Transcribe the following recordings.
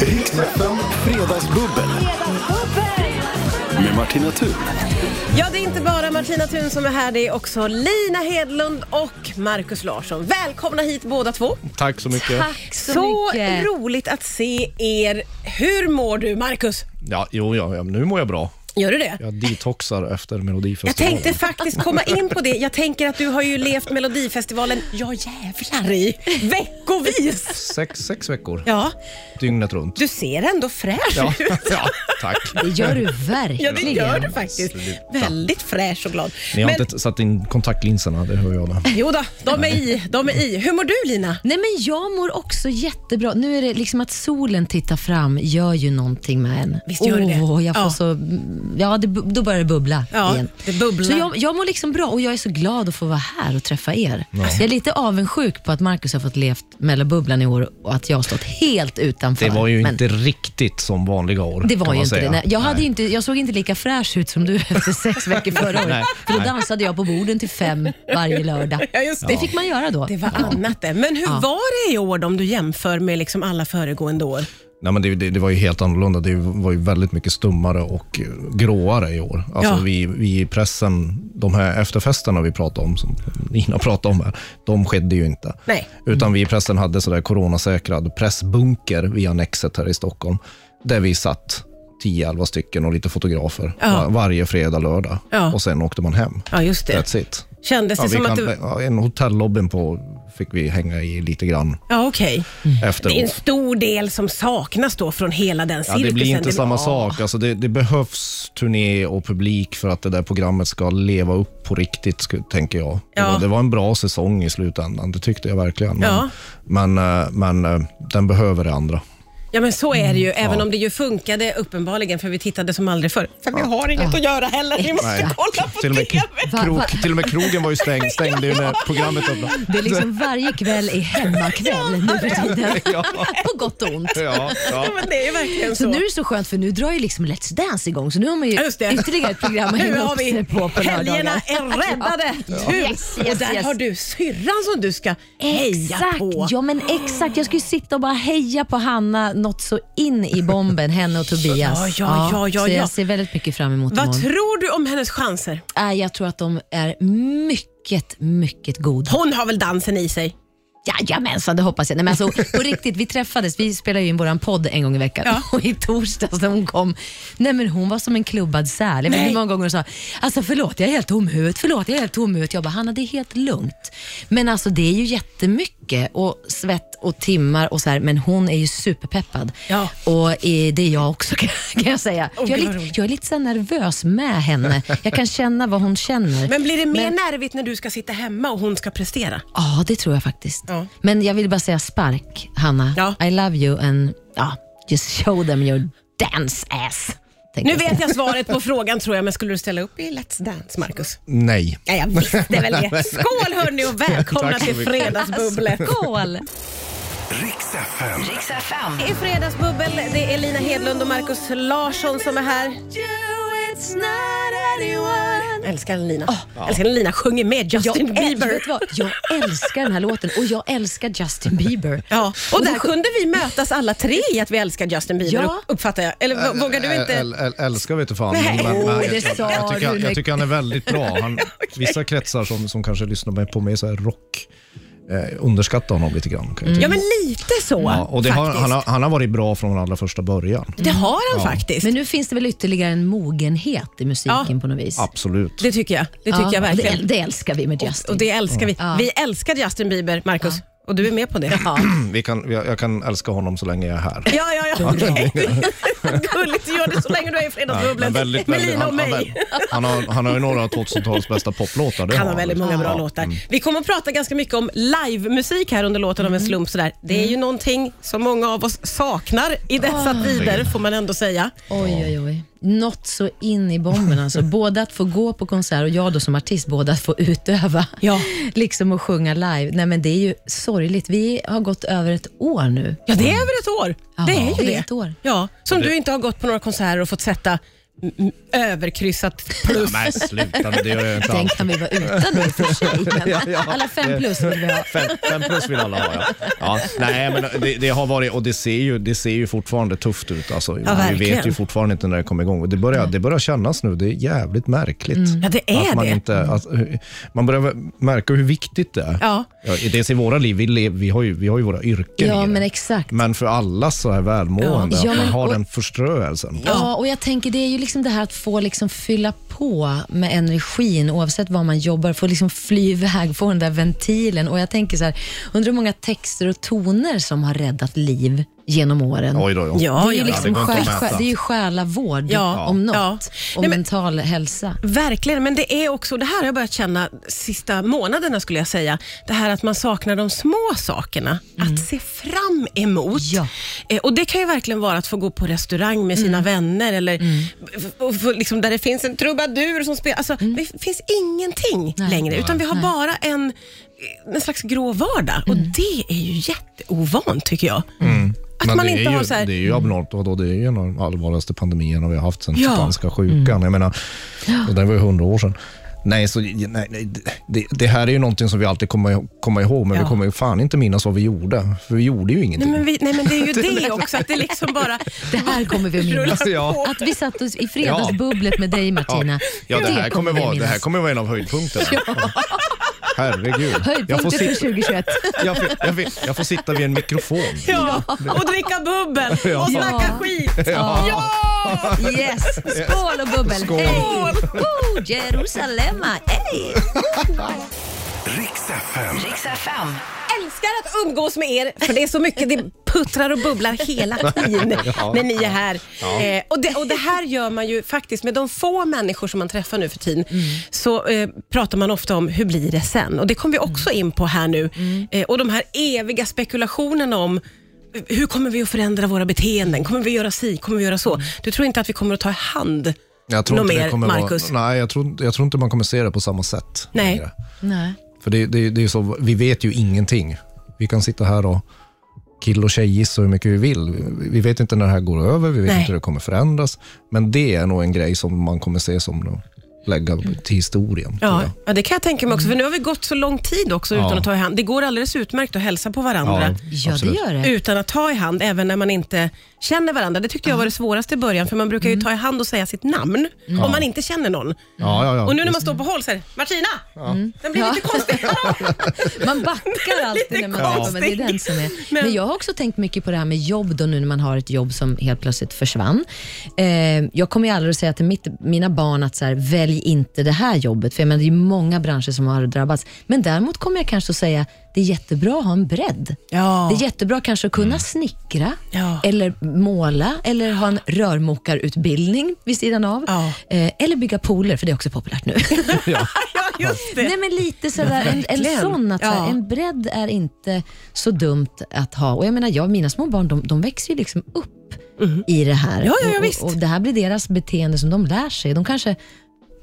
Riksfem Fredagsbubbel med Martina Thun. Ja, det är inte bara Martina Thun som är här, det är också Lina Hedlund och Markus Larsson. Välkomna hit båda två. Tack så mycket. Tack så, Så mycket. roligt att se er. Hur mår du, Markus? Ja, jo, ja, ja, nu mår jag bra. Gör du det? Jag detoxar efter Jag Melodifestivalen. tänkte faktiskt komma in på det. Jag tänker att du har ju levt Melodifestivalen, ja jävlar i, veckovis. Sex, sex veckor, Ja, dygnet runt. du ser ändå fräsch Ja, ut. ja, tack. Det gör du Ja, verkligen. det gör du faktiskt. Väldigt fräsch och glad. Ni har Men, inte satt in kontaktlinserna, det hör jag. Då. jo då, de är i. De är i. Hur mår du, Lina? Nej, men jag mår också jättebra. Nu är det liksom att solen tittar fram gör ju någonting med en. Visst gör det det? Åh, jag får Ja. så... Ja, det, bu- då börjar det bubbla Ja, igen. det bubblar. Så jag, jag mår liksom bra och jag är så glad att få vara här och träffa er. Jag är lite avundsjuk på att Markus har fått levt mellan bubblan i år och att jag har stått helt utanför. Det var ju Men- inte riktigt som vanliga år. Det var kan man ju inte säga. det. Nej, jag, hade Nej. ju inte, jag såg inte lika fräsch ut som du efter sex veckor förra året. Nej, För då nej. dansade jag på borden till fem varje lördag. Ja, just det. Det fick man göra då. Det var annat det. Men hur var det i år om du jämför med liksom alla föregående år? Nej, men det, det, det var ju helt annorlunda. Det var ju väldigt mycket stummare och eh, gråare i år. Alltså, Ja. vi, vi i pressen, de här efterfesterna vi pratade om, som Nina pratade om här, de skedde ju inte. Nej. Utan vi i pressen hade sådär coronasäkrad pressbunker via Nexet här i Stockholm, där vi satt 10-11 stycken och lite fotografer Ja. var, varje fredag, lördag. Ja. Och sen åkte man hem. Ja, just det. That's it. Kändes det Ja, vi som kan, att du... ja, en hotellobbyn på fick vi hänga i lite grann Ja, okej. efteråt. Det är en stor del som saknas då från hela den Ja, cirkusen. det blir inte Det- samma Ja. sak. Alltså det, det behövs turné och publik för att det där programmet ska leva upp på riktigt, sku- tänker jag. Ja. Det, var, det var en bra säsong i slutändan, det tyckte jag verkligen. Men, Ja. men, eh, men eh, den behöver det andra. Ja, men så är det Mm. ju. Även om det ju funkade uppenbarligen, för vi tittade som aldrig förr. För vi har inget att göra heller. Vi måste Nej. kolla på Till och, med, TV. Va- va- krok, till och med krogen var ju stängd, stängde ju när programmet öppnade. Det är liksom varje kväll är hemmakväll nu för tiden. På gott och ont. Ja, ja. Ja, men det är ju verkligen så. Så nu är det så skönt för nu drar ju liksom Let's Dance igång så nu har man ju Ja, just det. ytterligare ett program att Nu hänga har upp sig vi på på helgerna lördagar. är räddade. Tur. Yes, yes, och där yes. har du syrran som du ska heja Exakt, på. ja men exakt. Jag ska ju sitta och bara heja på Hanna något så in i bomben, henne och Tobias. Ja, ja, ja, ja, ja. så jag ser väldigt mycket fram emot Vad imorgon. tror du om hennes chanser? Äh, jag tror att de är mycket, mycket goda. Hon har väl dansen i sig? Jajamensan, det hoppas jag. Nej, men alltså, på riktigt, vi träffades, vi spelar ju in vår podd en gång i veckan Ja. och i torsdags när hon kom, nej men hon var som en klubbad säl. Jag vet inte hur många gånger hon sa, alltså förlåt jag är helt tom i huvudet, förlåt jag är helt tom i huvudet. Jag bara, Hanna det är helt lugnt. Men alltså det är ju jättemycket och svett och timmar och så här, men hon är ju superpeppad. Ja. Och eh, det är jag också kan kan jag säga. Åh, jag, är gud, vad lite, roligt. jag är lite så här nervös med henne. Jag kan känna vad hon känner. Men blir det mer nervigt när du ska sitta hemma och hon ska prestera? Ja, det tror jag faktiskt. Ja. Men jag vill bara säga spark, Hanna. Ja. I love you and ja, just show them your dance ass. Nu vet jag svaret på frågan tror jag, men skulle du ställa upp i Let's Dance, Marcus? Nej. Ja, jag visste väl det. Skål hörni och välkomna Tack så till mycket. Fredagsbubblet. Alltså, Skål! Riksfem. I Fredagsbubbel, det är Lina Hedlund och Marcus Larsson som är här. Älskar Lina. Ah, Älskar när Lina sjunger med Justin Jag, äl- Bieber. vet du vad? jag älskar den här låten och jag älskar Justin Bieber. Ja, och där kunde vi mötas alla tre i att vi älskar Justin Bieber, Ja. uppfattar jag. Eller vå- vågar du inte? Äl, äl, älskar vet du fan. Nej. Oh, det jag, sa jag, tycker, han- du, jag Nick. tycker han är väldigt bra. Han, Vissa kretsar som, som kanske lyssnar på mig så här rock eh, underskattar honom lite grann. Kan jag tycka. Ja, men lite så Ja, och det har, faktiskt. Mm. han, har, han har varit bra från allra första början. Det har han faktiskt. Men nu finns det väl ytterligare en mogenhet i musiken Ja. på något vis? Absolut. det tycker jag. Det tycker Ja, jag och verkligen. Det, det älskar vi med Justin. Och det älskar vi. Vi älskar Justin Bieber, Marcus. Och du är med på det? Ja, Vi kan, jag, jag kan älska honom så länge jag är här. ja, ja. Gulligt, du gör det så länge du är i Fredagsbubblet med Lina och han, mig. han, han, har, han har ju några av 2000-talets bästa poplåtar. det Han har väldigt många bra Ja. låtar. Vi kommer att prata ganska mycket om livemusik här under låten om en slump. Sådär. Det är ju någonting som många av oss saknar i dessa tider, får man ändå säga. Oj, oj, oj. Något så in i bomben alltså. Både att få gå på konsert och jag då som artist, både att få utöva Ja. liksom och sjunga live. Nej, men det är ju sorgligt. Vi har gått över ett år nu. Ja, det är över ett år. Ja, det är ju det. det är ett år. Ja, som du inte har gått på några konserter och fått sätta överkryssat plus. Nej, sluta nu. Det gör jag inte Den alls. kan vi vara utan nu för sig. Ja, Men ja. alla fem plus vill vi ha. Fem, fem plus vill alla ha ja. ja nej, men det, det har varit, och det ser ju, det ser ju fortfarande tufft ut. Alltså. vi verkligen. Mm. vet ju fortfarande inte när det kommer igång. Och det, börjar, det börjar kännas nu, det är jävligt märkligt. Ja, det är att man, det. Inte, att, hur- man börjar märka hur viktigt det är. Ja. dels i våra liv, vi, lev, vi, har ju, vi har ju våra yrken i Ja, det. men exakt. Men för alla så här välmående, Ja. Ja, att man men- har och- den förströelsen. Ja, och jag tänker det är ju liksom det här att få liksom fylla på med energin oavsett var man jobbar, få liksom fly iväg, få den där ventilen. Och jag tänker så här, undrar hur många texter och toner som har räddat liv genom åren. Oj då, då. Ja, det är ju ja. liksom det går inte själ, att mäta. själ, det är ju själavård Ja, om något. ja. Och Nej, men- mental hälsa. Verkligen, men det är också, det här har jag börjat känna sista månaderna skulle jag säga, det här att man saknar de små sakerna att se fram emot. Mm. Ja. Mm. Eh, och Det kan ju verkligen vara att få gå på restaurang med sina vänner eller f- och få, liksom, där det finns en trubadur som spelar. Alltså, Det finns ingenting Mm. Nej. Mm. längre, utan vi har bara en, en slags grå vardag och det är ju jätteovant tycker jag. Att Mm. Men man det inte är ju, har så här, Det är ju abnormt. Vadå, det är ju en av de allvarligaste pandemierna vi har haft sedan Ja. spanska sjukan. Jag menar, och den var ju hundra år sedan. Nej, så, nej, nej det, det här är ju någonting som vi alltid kommer ihåg- komma ihåg, men Ja. vi kommer ju fan inte minnas vad vi gjorde. För vi gjorde ju nej, ingenting. men vi, nej men det är ju det också, att det liksom bara Det här kommer vi att minnas. rullar Alltså, Ja. på. Att vi satt oss i fredagsbubblet med dig Martina. vi minnas. kommer vara en av höjdpunkterna. Herregud. Jag får, Höjdpunkten för sitta, 2021. jag, får, jag, får, jag får sitta vid en mikrofon. Ja, och dricka bubbel Ja. och snacka skit. Ja! Yes! Skål och bubbel! Skål. Hej! Oh, Jerusalem! Hej! Riks FM. Älskar att umgås med er, för det är så mycket det puttrar och bubblar hela tiden när ni är här. Eh, och, det, och Det här gör man ju faktiskt med de få människor som man träffar nu för tiden. Mm. Så eh, pratar man ofta om hur blir det sen? Och Det kom vi också in på här Mm. nu. Eh, och de här eviga spekulationerna om eh, hur kommer vi att förändra våra beteenden? Kommer vi göra si? Kommer vi göra Mm. så? Du tror inte att vi kommer att ta i hand Jag tror, något inte det mer, kommer Marcus? vara, nej, jag, tror, jag tror inte man kommer se det på samma sätt. Nej. längre. Nej. För det, det, det är ju så, vi vet ju ingenting. Vi kan sitta här och kill och tjejgissa hur mycket vi vill. Vi- Vi vet inte när det här går över, vi vet Nej. inte hur det kommer förändras. Men det är nog en grej som man kommer se som att lägga till historien. tror Mm. Ja, jag. ja, det kan jag tänka mig också, för nu har vi gått så lång tid också Ja. utan att ta i hand. Det går alldeles utmärkt att hälsa på varandra Ja, det absolut. gör det. utan att ta i hand, även när man inte känner varandra. Det tyckte jag var det svåraste i början, för man brukar ju ta i hand och säga sitt namn om man inte känner någon. Ja, ja, ja. Och nu när man står på håll så här, Martina! Den blir lite konstig. Man backar alltid när man Lite tänker, men det är den som är. Men- Men, jag har också tänkt mycket på det här med jobb då, nu när man har ett jobb som helt plötsligt försvann. Eh, jag kommer ju aldrig att säga till mitt, mina barn att så här, välj inte det här jobbet, för jag menar, det är ju många branscher som har drabbats. Men däremot kommer jag kanske att säga, det är jättebra att ha en bredd. Ja. Det är jättebra kanske att kunna snickra, Ja. eller måla, eller ha en rörmokarutbildning vid sidan av. Ja. Eh, eller bygga pooler, för det är också populärt nu. ja, just det. Nej men lite sådär, en, en verkligen. sån att Ja. såhär, en bredd är inte så dumt att ha. Och jag menar, jag, mina små barn de, de växer ju liksom upp i det här. Mm-hmm. Ja, ja, ja, Och- visst. och, och det här blir deras beteende som de lär sig. De kanske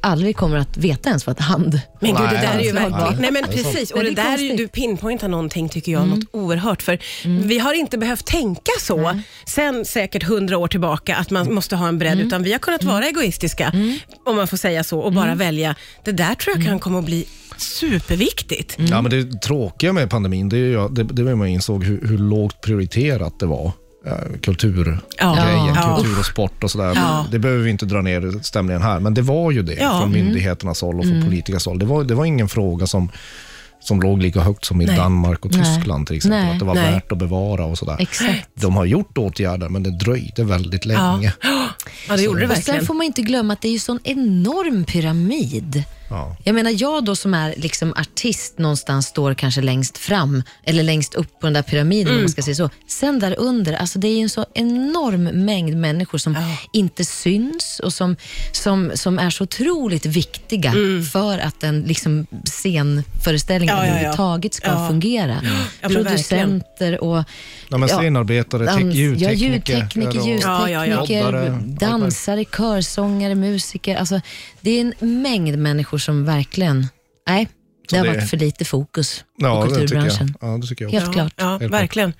aldrig kommer att veta ens vad ett hand... Men gud, det Nej, där är ju alltså, verkligen... ja. Nej, men Det är sant. precis. Och Men det det är där är ju, konstigt. Mm. du pinpointar någonting, tycker jag, något oerhört. För vi har inte behövt tänka så Mm. sen säkert hundra år tillbaka, att man måste ha en bredd, Mm. utan vi har kunnat vara egoistiska, om man får säga så, och bara Mm. välja. Det där tror jag kan komma att bli superviktigt. Ja, men det tråkiga med pandemin, det, är ju, det, det var ju man insåg hur, hur lågt prioriterat det var. eh, Kulturgrejen, Ja. Ja. kultur och sport och sådär. Ja. Det behöver vi inte dra ner stämningen här, men det var ju det Ja. från myndigheternas håll och från politikernas håll. Det var, det var ingen fråga som, som låg lika högt som i Nej. Danmark och Nej. Tyskland till exempel. Nej. Att det var Nej. värt att bevara och sådär. Exakt. De har gjort åtgärder, men det dröjde väldigt länge. Ja, det gjorde det Mm. Och sen verkligen. får man inte glömma att det är ju sån enorm pyramid. Ja. Jag menar, jag då som är liksom artist någonstans står kanske längst fram eller längst upp på den där pyramiden Mm. om man ska säga så. Sen där under, alltså det är ju en så enorm mängd människor som inte syns och som, som, som är så otroligt viktiga för att en liksom, scenföreställning Mm. Ja, ja, ja. överhuvudtaget ska Ja. fungera. men verkligen. Producenter och Ja, men scenarbetare, tek- Dans- ljudtekniker, ja, ljudtekniker och- Ja, ja, ja. ljustekniker, Poddare, allt dansare, körsångare, musiker. Alltså, det är en mängd människor som verkligen... Nej, Så det har det- varit för lite fokus på Ja, det tycker kulturbranschen. jag. Ja, det tycker jag. Helt klart. Mm. Ja, klart. verkligen.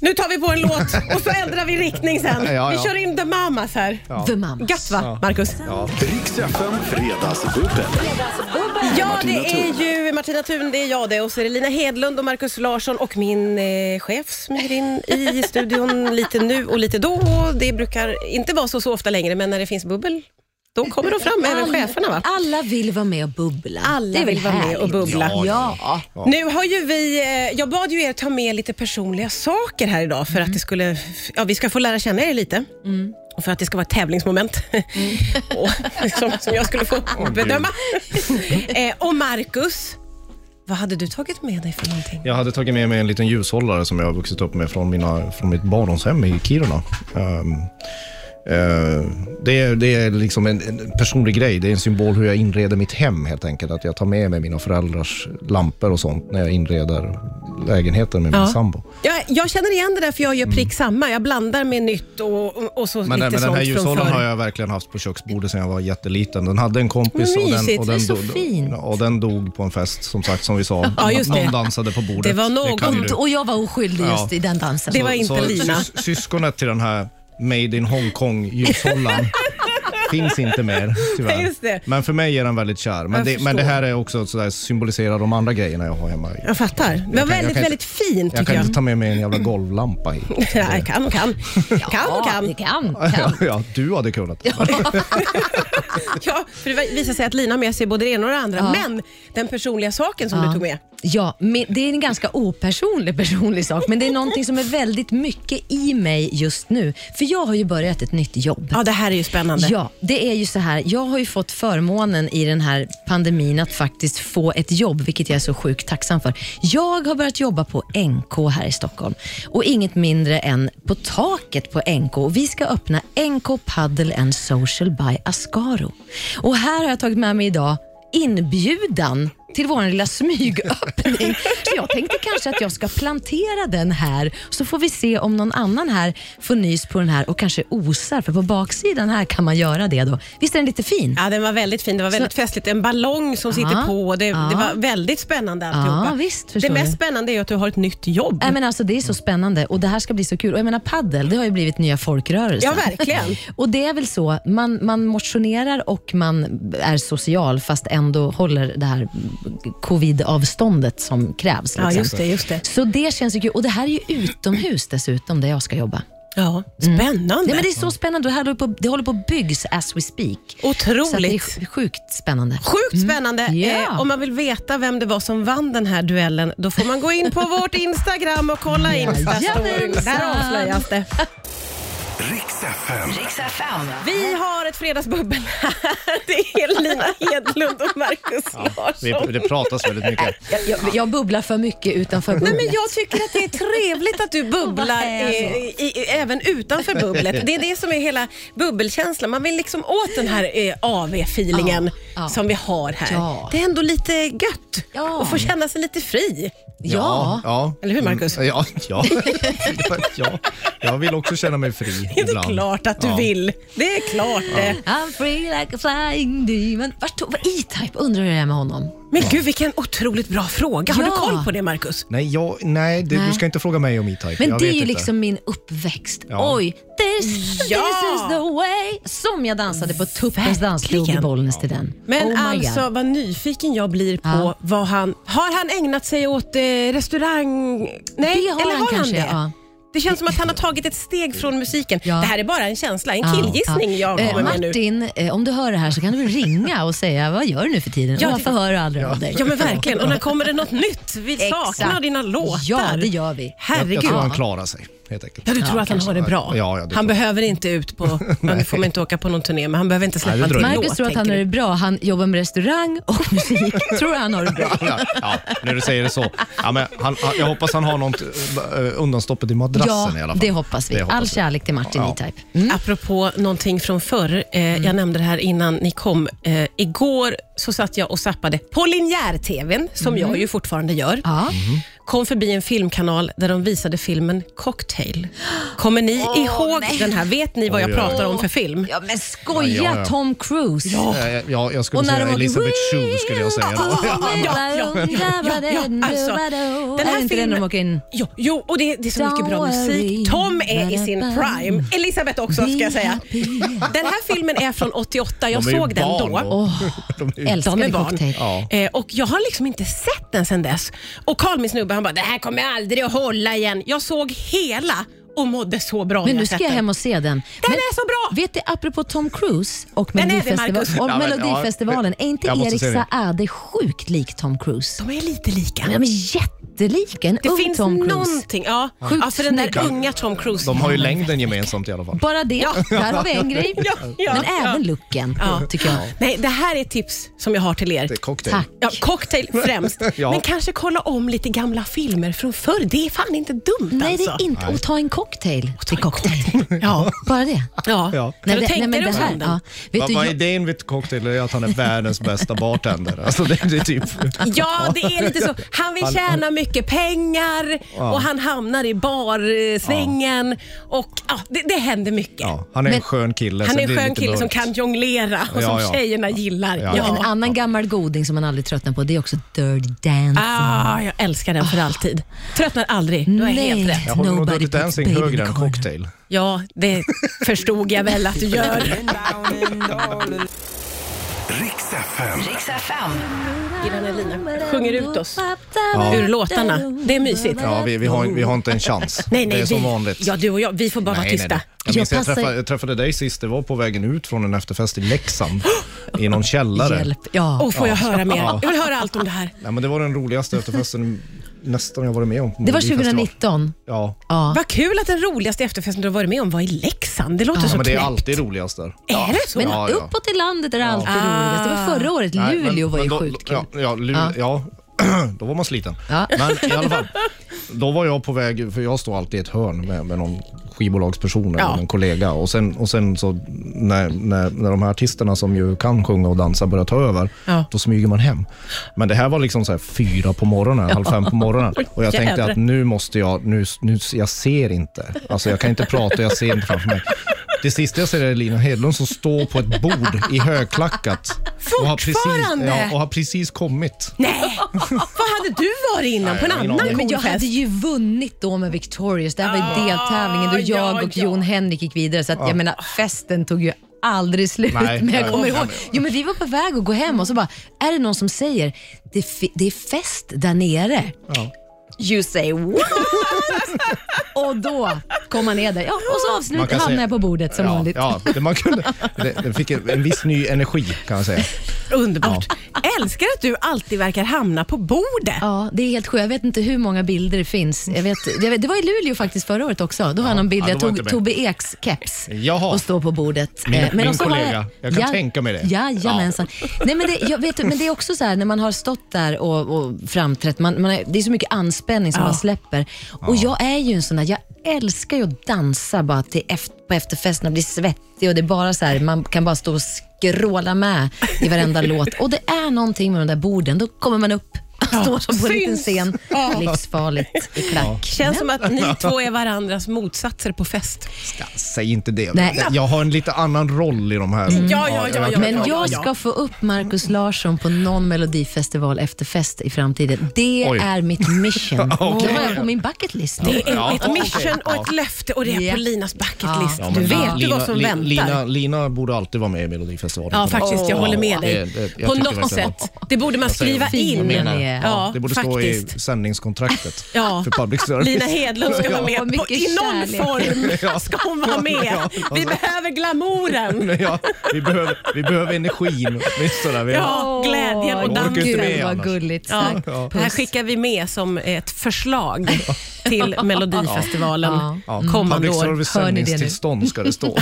nu tar vi på en låt och så ändrar vi riktning sen. Ja, ja. Vi kör in The Mamas här. The Mamas. Gött va, Marcus? Riks FM Fredagsbubbel. Ja, Martina det är ju Martina Thun, det är jag det och så är det Lina Hedlund och Markus Larsson och min eh, chef smyger in i studion lite nu och lite då. Det brukar inte vara så, så ofta längre, men när det finns bubbel, då kommer de fram, även cheferna va? Alla vill vara med och bubbla. Alla det är väl vill vara med härligt? och bubbla. Ja. ja. Nu har ju vi, eh, jag bad ju er ta med lite personliga saker här idag för att det skulle, ja vi ska få lära känna er lite. Och för att det ska vara ett tävlingsmoment och, som, som jag skulle få bedöma. eh, och Marcus, vad hade du tagit med dig för någonting? Jag hade tagit med mig en liten ljushållare som jag har vuxit upp med från, mina, från mitt barndomshem i Kiruna. Ehm, eh, det, är, det är liksom en, en personlig grej. Det är en symbol hur jag inreder mitt hem helt enkelt. Att jag tar med mig mina föräldrars lampor och sånt när jag inreder lägenheten med min Ja. sambo. Jag, jag känner igen det där för jag gör prick samma. Jag blandar med nytt och, och, och så Mm. Men, lite den- men den sånt från här ljushållaren förr. har jag verkligen haft på köksbordet sedan jag var jätteliten. Den hade en kompis Men och den, mysigt, och, det är den så dog- fint. och den dog på en fest som sagt som vi sa. Ja, just det. Någon dansade på bordet. Det var någon. kan ju du. Och, och jag var oskyldig just Ja. i den dansen. Det var inte så Lina. sys- Syskonet till den här Made in Hongkong ljushållaren finns inte mer tyvärr. Just det. Men för mig är den väldigt kär. Men, Jag det, men det förstår. här är också så där, symboliserar de andra grejerna jag har hemma. i. Jag fattar. Det var kan- jag väldigt, kan inte- väldigt fint Jag tycker kan jag. inte ta med mig en jävla golvlampa hit. Nej, kan och kan. Kan och Ja, kan. det kan. Ja, kan. ja, du hade kunnat. Ja, för det visar sig att Lina har med sig både det ena och det andra. Men den personliga saken som du tog med. Ja, men det är en ganska opersonlig personlig sak, men det är någonting som är väldigt mycket i mig just nu. För jag har ju börjat ett nytt jobb. Ja, det här är ju spännande. Ja, det är ju så här. Jag har ju fått förmånen i den här pandemin att faktiskt få ett jobb, vilket jag är så sjukt tacksam för. Jag har börjat jobba på NK här i Stockholm och inget mindre än på taket på NK. Och Vi ska öppna NK Paddle and Social by Ascaro. Och här har jag tagit med mig idag inbjudan till vår lilla smygöppning. Så jag tänkte kanske att jag ska plantera den här, så får vi se om någon annan här får nys på den här och kanske osar, för på baksidan här kan man göra det då. Visst är den lite fin? Ja, den var väldigt fin. Det var väldigt festligt. En ballong som sitter Ja, på. Det, det ja. var väldigt spännande alltihopa. Ja, visst, det förstår mest du. spännande är ju att du har ett nytt jobb. Nej, men alltså, det är så spännande och det här ska bli så kul. Och jag menar paddel, det har ju blivit nya folkrörelsen. Ja, verkligen. och det är väl så, man, man motionerar och man är social fast ändå håller det här covid-avståndet som krävs. Ja, liksom. just det. just det. Så det känns ju kul. Och det här är ju utomhus dessutom, där jag ska jobba. Ja, spännande. Nej, men det är så spännande. Det, här håller på, det håller på att byggs as we speak. Så att det är Otroligt. sj- sjukt spännande. Sjukt spännande. Ja. Eh, om man vill veta vem det var som vann den här duellen, då får man gå in på vårt Instagram och kolla Insta-storyn. Jajamensan. Där avslöjas det. Riks FM. Vi har ett fredagsbubbel här. Det är Lina Hedlund och Markus Larsson. Det, det pratas väldigt mycket. Jag, jag, jag bubblar för mycket utanför Nej, bubblan. men jag tycker att det är trevligt att du bubblar eh, i, i, även utanför bubblet. Det är det som är hela bubbelkänslan. Man vill liksom åt den här eh, AV-feelingen Ja, ja. som vi har här. Ja. Det är ändå lite gött Ja. att få känna sig lite fri. ja. ja. Eller hur, Marcus? Mm, Ja, ja. ja. Jag vill också känna mig fri Det är ibland. klart att du Ja. vill. Det är klart det. I'm free like a flying demon. Vart tog var E-Type? Undrar hur det är med honom. Men gud, vilken otroligt bra fråga. Har Ja. du koll på det, Marcus? Nej, jag, nej, du, Nej. du ska inte fråga mig om E-Type. Men jag det är vet ju inte. liksom min uppväxt. Ja. Oj, this, Ja. this is the way. Som jag dansade på Tuppens Verkligen. dansklubb i Bollnäs till den. Men oh my alltså God. vad nyfiken jag blir på Ja. vad han... Har han ägnat sig åt eh, restaurang... Nej, Det har eller han har kanske. han det? Ja. Det känns som att han har tagit ett steg från musiken. Ja. Det här är bara en känsla, en Ja, killgissning ja. jag Eh, kommer med nu. Martin, eh, om du hör det här så kan du ringa och säga vad gör du nu för tiden? Ja, och varför det- hör du aldrig av dig? Ja men verkligen, och när kommer det något nytt? Vi Exakt. saknar dina låtar. Ja, det gör vi. Jag, Herregud. jag tror han klarar sig, helt enkelt. Ja, du tror att han har det bra? Ja, ja, det han tror behöver inte ut på... ja, nu får man inte åka på någon turné, men han behöver inte släppa Nej, det en tror jag till Marcus låt. tror att han tänker har du. det bra. Han jobbar med restaurang och musik. tror han har det bra. Ja, ja, när du säger det så. Ja, men han, han- jag hoppas han har något eh, undanstoppet i madrassen i alla Ja, fall. det hoppas vi. Det hoppas All vi. kärlek till Martin Ja. E-Type. Apropå någonting från förr, eh, Mm. jag nämnde det här innan ni kom. Eh, Mm. igår så satt jag och zappade på linjär-tvn, som jag ju fortfarande gör. Ja. kom förbi en filmkanal där de visade filmen Cocktail. Kommer ni ihåg nej. den här? Vet ni vad jag Oj, oj, oj. pratar om för film? Ja, men skoja Ja, ja, ja. Tom Cruise. Eh, Ja, jag skulle Och när säga de åker- Elizabeth Shue skulle jag säga. då. ja, ja, ja, ja, alltså, den här Är det inte den filmen- de åker in? Jo, jo och det, det är så mycket bra musik. Tom är i sin prime. Elisabeth också ska jag säga. Den här filmen är från 88. Jag De är ju såg den barn då. Åh, De är ju- De är älskade barn. cocktail. Eh, och jag har liksom inte sett den sen dess. Och Carl, min snubbe, han bara, det här kommer jag aldrig att hålla igen. Jag såg hela och mådde så bra Men när nu jag ska sett jag den. hem och se den. Den men, är så bra! Vet du, apropå Tom Cruise och Den är det, Melodifestivalen, Marcus. och Ja, men, ja. Melodifestivalen är inte Jag måste Erik se det. Saade sjukt lik Tom Cruise? De är lite lika. De är jättelika, en det ung finns Tom Cruise. någonting. Ja, Sjukt ja, för den där snygg. unga Tom Cruise. De har ju längden gemensamt i alla fall. Bara det, där har vi en grej. Ja, ja, men ja. även looken, Ja. tycker jag. Nej, det här är ett tips som jag har till er. Det är cocktail. Tack. Ja, cocktail främst, Ja. men kanske kolla om lite gamla filmer från förr. Det är fan inte dumt Nej, det alltså. är inte. Och ta en cocktail till cocktail. Ja. Bara det. Ja. Ja. Kan du det- tänka dig det här- den? ja. Vet Vad du, vad är jag, idén med cocktail är att han är världens bästa bartender. Alltså det, det är typ... Ja, det är lite så. Han vill tjäna mycket pengar och han hamnar i barsvängen. Och, ja, det, det händer mycket. Ja, han är en Men- skön kille. Han så är det en skön lite kille som mörkt. kan jonglera och som Ja, ja. tjejerna gillar. Ja, ja. en annan gammal goding som man aldrig tröttnar på, det är också Dirty Dancing. Ah, jag älskar den för alltid. Tröttnar aldrig. Du har helt Nej. rätt. Jag håller nog Nobody Dirty puts Dancing baby in högre the än corner. cocktail. Ja, det förstod jag väl att du gör. Riks FM. Gillan Elina sjunger ut oss ur låtarna. Det är mysigt. Ja, vi, vi, har, vi har inte en chans. Nej, nej, det är som vi, vanligt. Ja, du och jag, vi får bara vara tysta. Jag, Jag minns jag, passar- träffade, jag träffade dig sist, det var på vägen ut från en efterfest i Leksand i någon källare. Hjälp. Ja. Och får jag höra mer? Jag vill höra allt om det här. Nej, men det var den roligaste efterfesten nästan jag varit med om. på Det var Melodifestival. 2019. Ja. Ja. Vad kul att den roligaste efterfesten du har varit med om var i Leksand. Det låter ja, så men det är knäppt. alltid roligast där. Är det så? Men Ja, ja. uppåt i landet är det alltid Ah. roligast. Det var förra året. Nej, Luleå men- var ju men då- sjukt kul. ja, ja, Luleå, ja. då var man sliten. Ja. Men i alla fall, då var jag på väg, för jag står alltid i ett hörn med, med någon skivbolagsperson eller Ja. en kollega. Och sen, och sen så när, när, när de här artisterna som ju kan sjunga och dansa börjar ta över, Ja. då smyger man hem. Men det här var liksom så här fyra på morgonen, halv fem på morgonen. Och jag tänkte Jädrar. att nu måste jag, nu, nu, jag ser inte. Alltså jag kan inte prata, jag ser inte framför mig. Det sista jag ser är Lina Hedlund som står på ett bord i högklackat. Och har precis, Fortfarande? ja, och har precis kommit. Nej! Vad hade du varit innan på en Nej, ingen annan aning. Men jag coolfest? hade ju vunnit då med Victorious. Det här var ju deltävlingen då ja, jag och ja. Jon Henrik gick vidare. Så att, jag menar, festen tog ju aldrig slut. Ah. Nej, men jag nej, kommer nej, ihåg. Jo, men vi var på väg att gå hem och så bara, är det någon som säger det, är fe- det är fest där nere? Ja. You say what? och då kom man ner där. Ja, och så Man avslut kan hamnade säga- jag på bordet som Ja, vanligt. ja, det man kunde, det, det fick en, en viss ny energi kan jag säga. Underbart. Älskar att du alltid verkar hamna på bordet. Ja, det är helt sjukt. Jag vet inte hur många bilder det finns. Jag vet, jag vet, det var i Luleå faktiskt förra året också. Då har jag någon bild ja, där jag då var inte tog med. Tobbe Eks keps Jaha. och står på bordet. Min- Eh, min och så har kollega. Jag kan tänka mig det. Jajamensan. Nej, men, det, jag vet, men det är också så här när man har stått där och, och framträtt, man, man är, det är så mycket anspänning som man släpper. Och jag är ju en sån där, jag älskar ju att dansa bara till efter, på efterfesten och bli svettig och det är bara så här, man kan bara stå och skråla med i varenda låt. Och det är någonting med de där borden, då kommer man upp och står som på en liten Syns. scen. Livsfarligt i klack. Känns som att ni två är varandras motsatser på fest. Ja, Säg inte det. Nej. Jag har en lite annan roll i de här. Ja, ja, ja, ja. Men jag ska få upp Markus Larsson på någon melodifestival efter fest i framtiden. Det Oj. är mitt mission. Okej. Det har jag på min bucket list. Det är Ja, ett okej. mission och ett Ja. löfte och det är Ja. på Linas bucket Ja. list. Ja, du men vet ju vad som Li- väntar. Lina, Lina borde alltid vara med i Melodifestivalen. Ja, faktiskt. Jag Ja, håller med dig. det- det- jag på tycker något verkligen- sätt. Det borde man skriva Jag säger- jag in. menar, Ja, det borde stå i faktiskt. sändningskontraktet Ja. för public service. Lina Hedlund ska vara Och med. På, mycket I någon kärlek. form ska hon vara med. Vi behöver glamouren. ja, vi, behöver, vi behöver energin åtminstone. Vi- Ja, glädjen och Åh, orkar inte dansen. med Gud vad annars. gulligt. Ja, Tack. det här skickar vi med som ett förslag till Melodifestivalen Ja, Mm. Mm. kommande public år. service Hör ni det nu? sändningstillstånd ska det stå.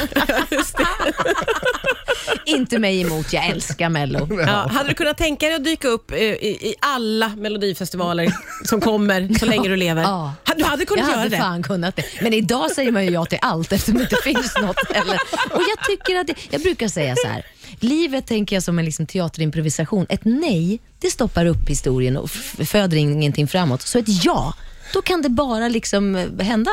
Inte mig emot, jag älskar Mello. Ja, hade du kunnat tänka dig att dyka upp eh, i, i alla Melodifestivaler som kommer så länge du lever? Ja. Ha- du hade kunnat jag göra hade det. fan kunnat det. Men idag säger man ju ja till allt eftersom det inte finns något heller. Och jag, tycker att det, jag brukar säga så här. Livet tänker jag som en liksom teaterimprovisation. Ett nej, det stoppar upp historien och f- föder ingenting framåt. Så ett ja, då kan det bara liksom eh, hända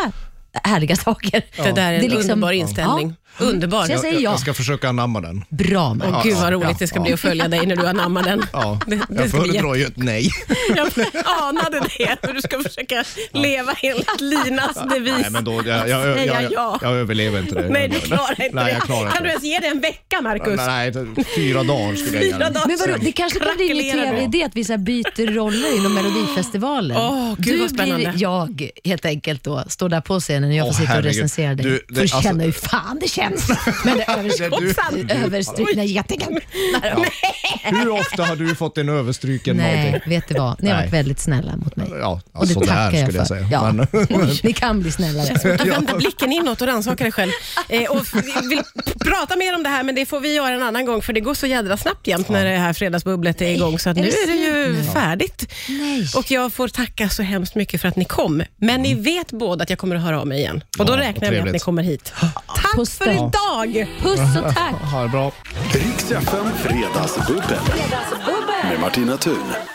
härliga saker. liksom- Det där är en underbar inställning. Ja. Underbar. Så jag säger ja. Jag ska försöka anamma den. Bra man. Åh, gud vad roligt det ska ja. bli att följa dig när du anammar den. Ja, Det, det jag ska bli föredrar ju ett nej. jätte- Jag anade det, hur du ska försöka leva enligt Linas devis. Nej, men då, jag, jag, jag, Säga jag, ja. jag, överlever inte det. Nej, du klarar inte Nej, det. jag klarar kan inte du ens ge det en vecka, Markus? Nej, nej, fyra dagar skulle jag ge Fyra den. dagar. Men vadå, Sen det kanske kan bli en Alltså, krackelerar tv-idé att vi så här byter roller inom Melodifestivalen. Åh, gud, du vad spännande. blir jag helt enkelt då, står där på scenen och jag får Åh, sitta och herregud. recensera dig. Du, det- Får alltså- känna hur fan det känns med det överstryk- du- överstrukna jättegubben. Hur ofta har du fått en överstruken Nej, mating? vet du vad? Ni har Nej. varit väldigt snälla mot mig. Ja, och det sådär tackar jag skulle jag för. säga. Ja. Men- Oj, Ni kan bli snällare. Du vänder blicken inåt och rannsakar dig själv. Eh, och vi vill prata mer om det här, men det får vi göra en annan gång, för det går så jädra snabbt jämt när det här fredagsbubblet är igång, så att är nu det är det ju färdigt. Nej. Mm. Och jag får tacka så hemskt mycket för att ni kom, men ni vet båda att jag kommer att höra av mig igen. Och då Ja, räknar jag med att trevligt. ni kommer hit. Tack Puss för då. idag! Puss och tack. Ha det bra. Riks FM Fredagsbubbel. Med Martina Thun.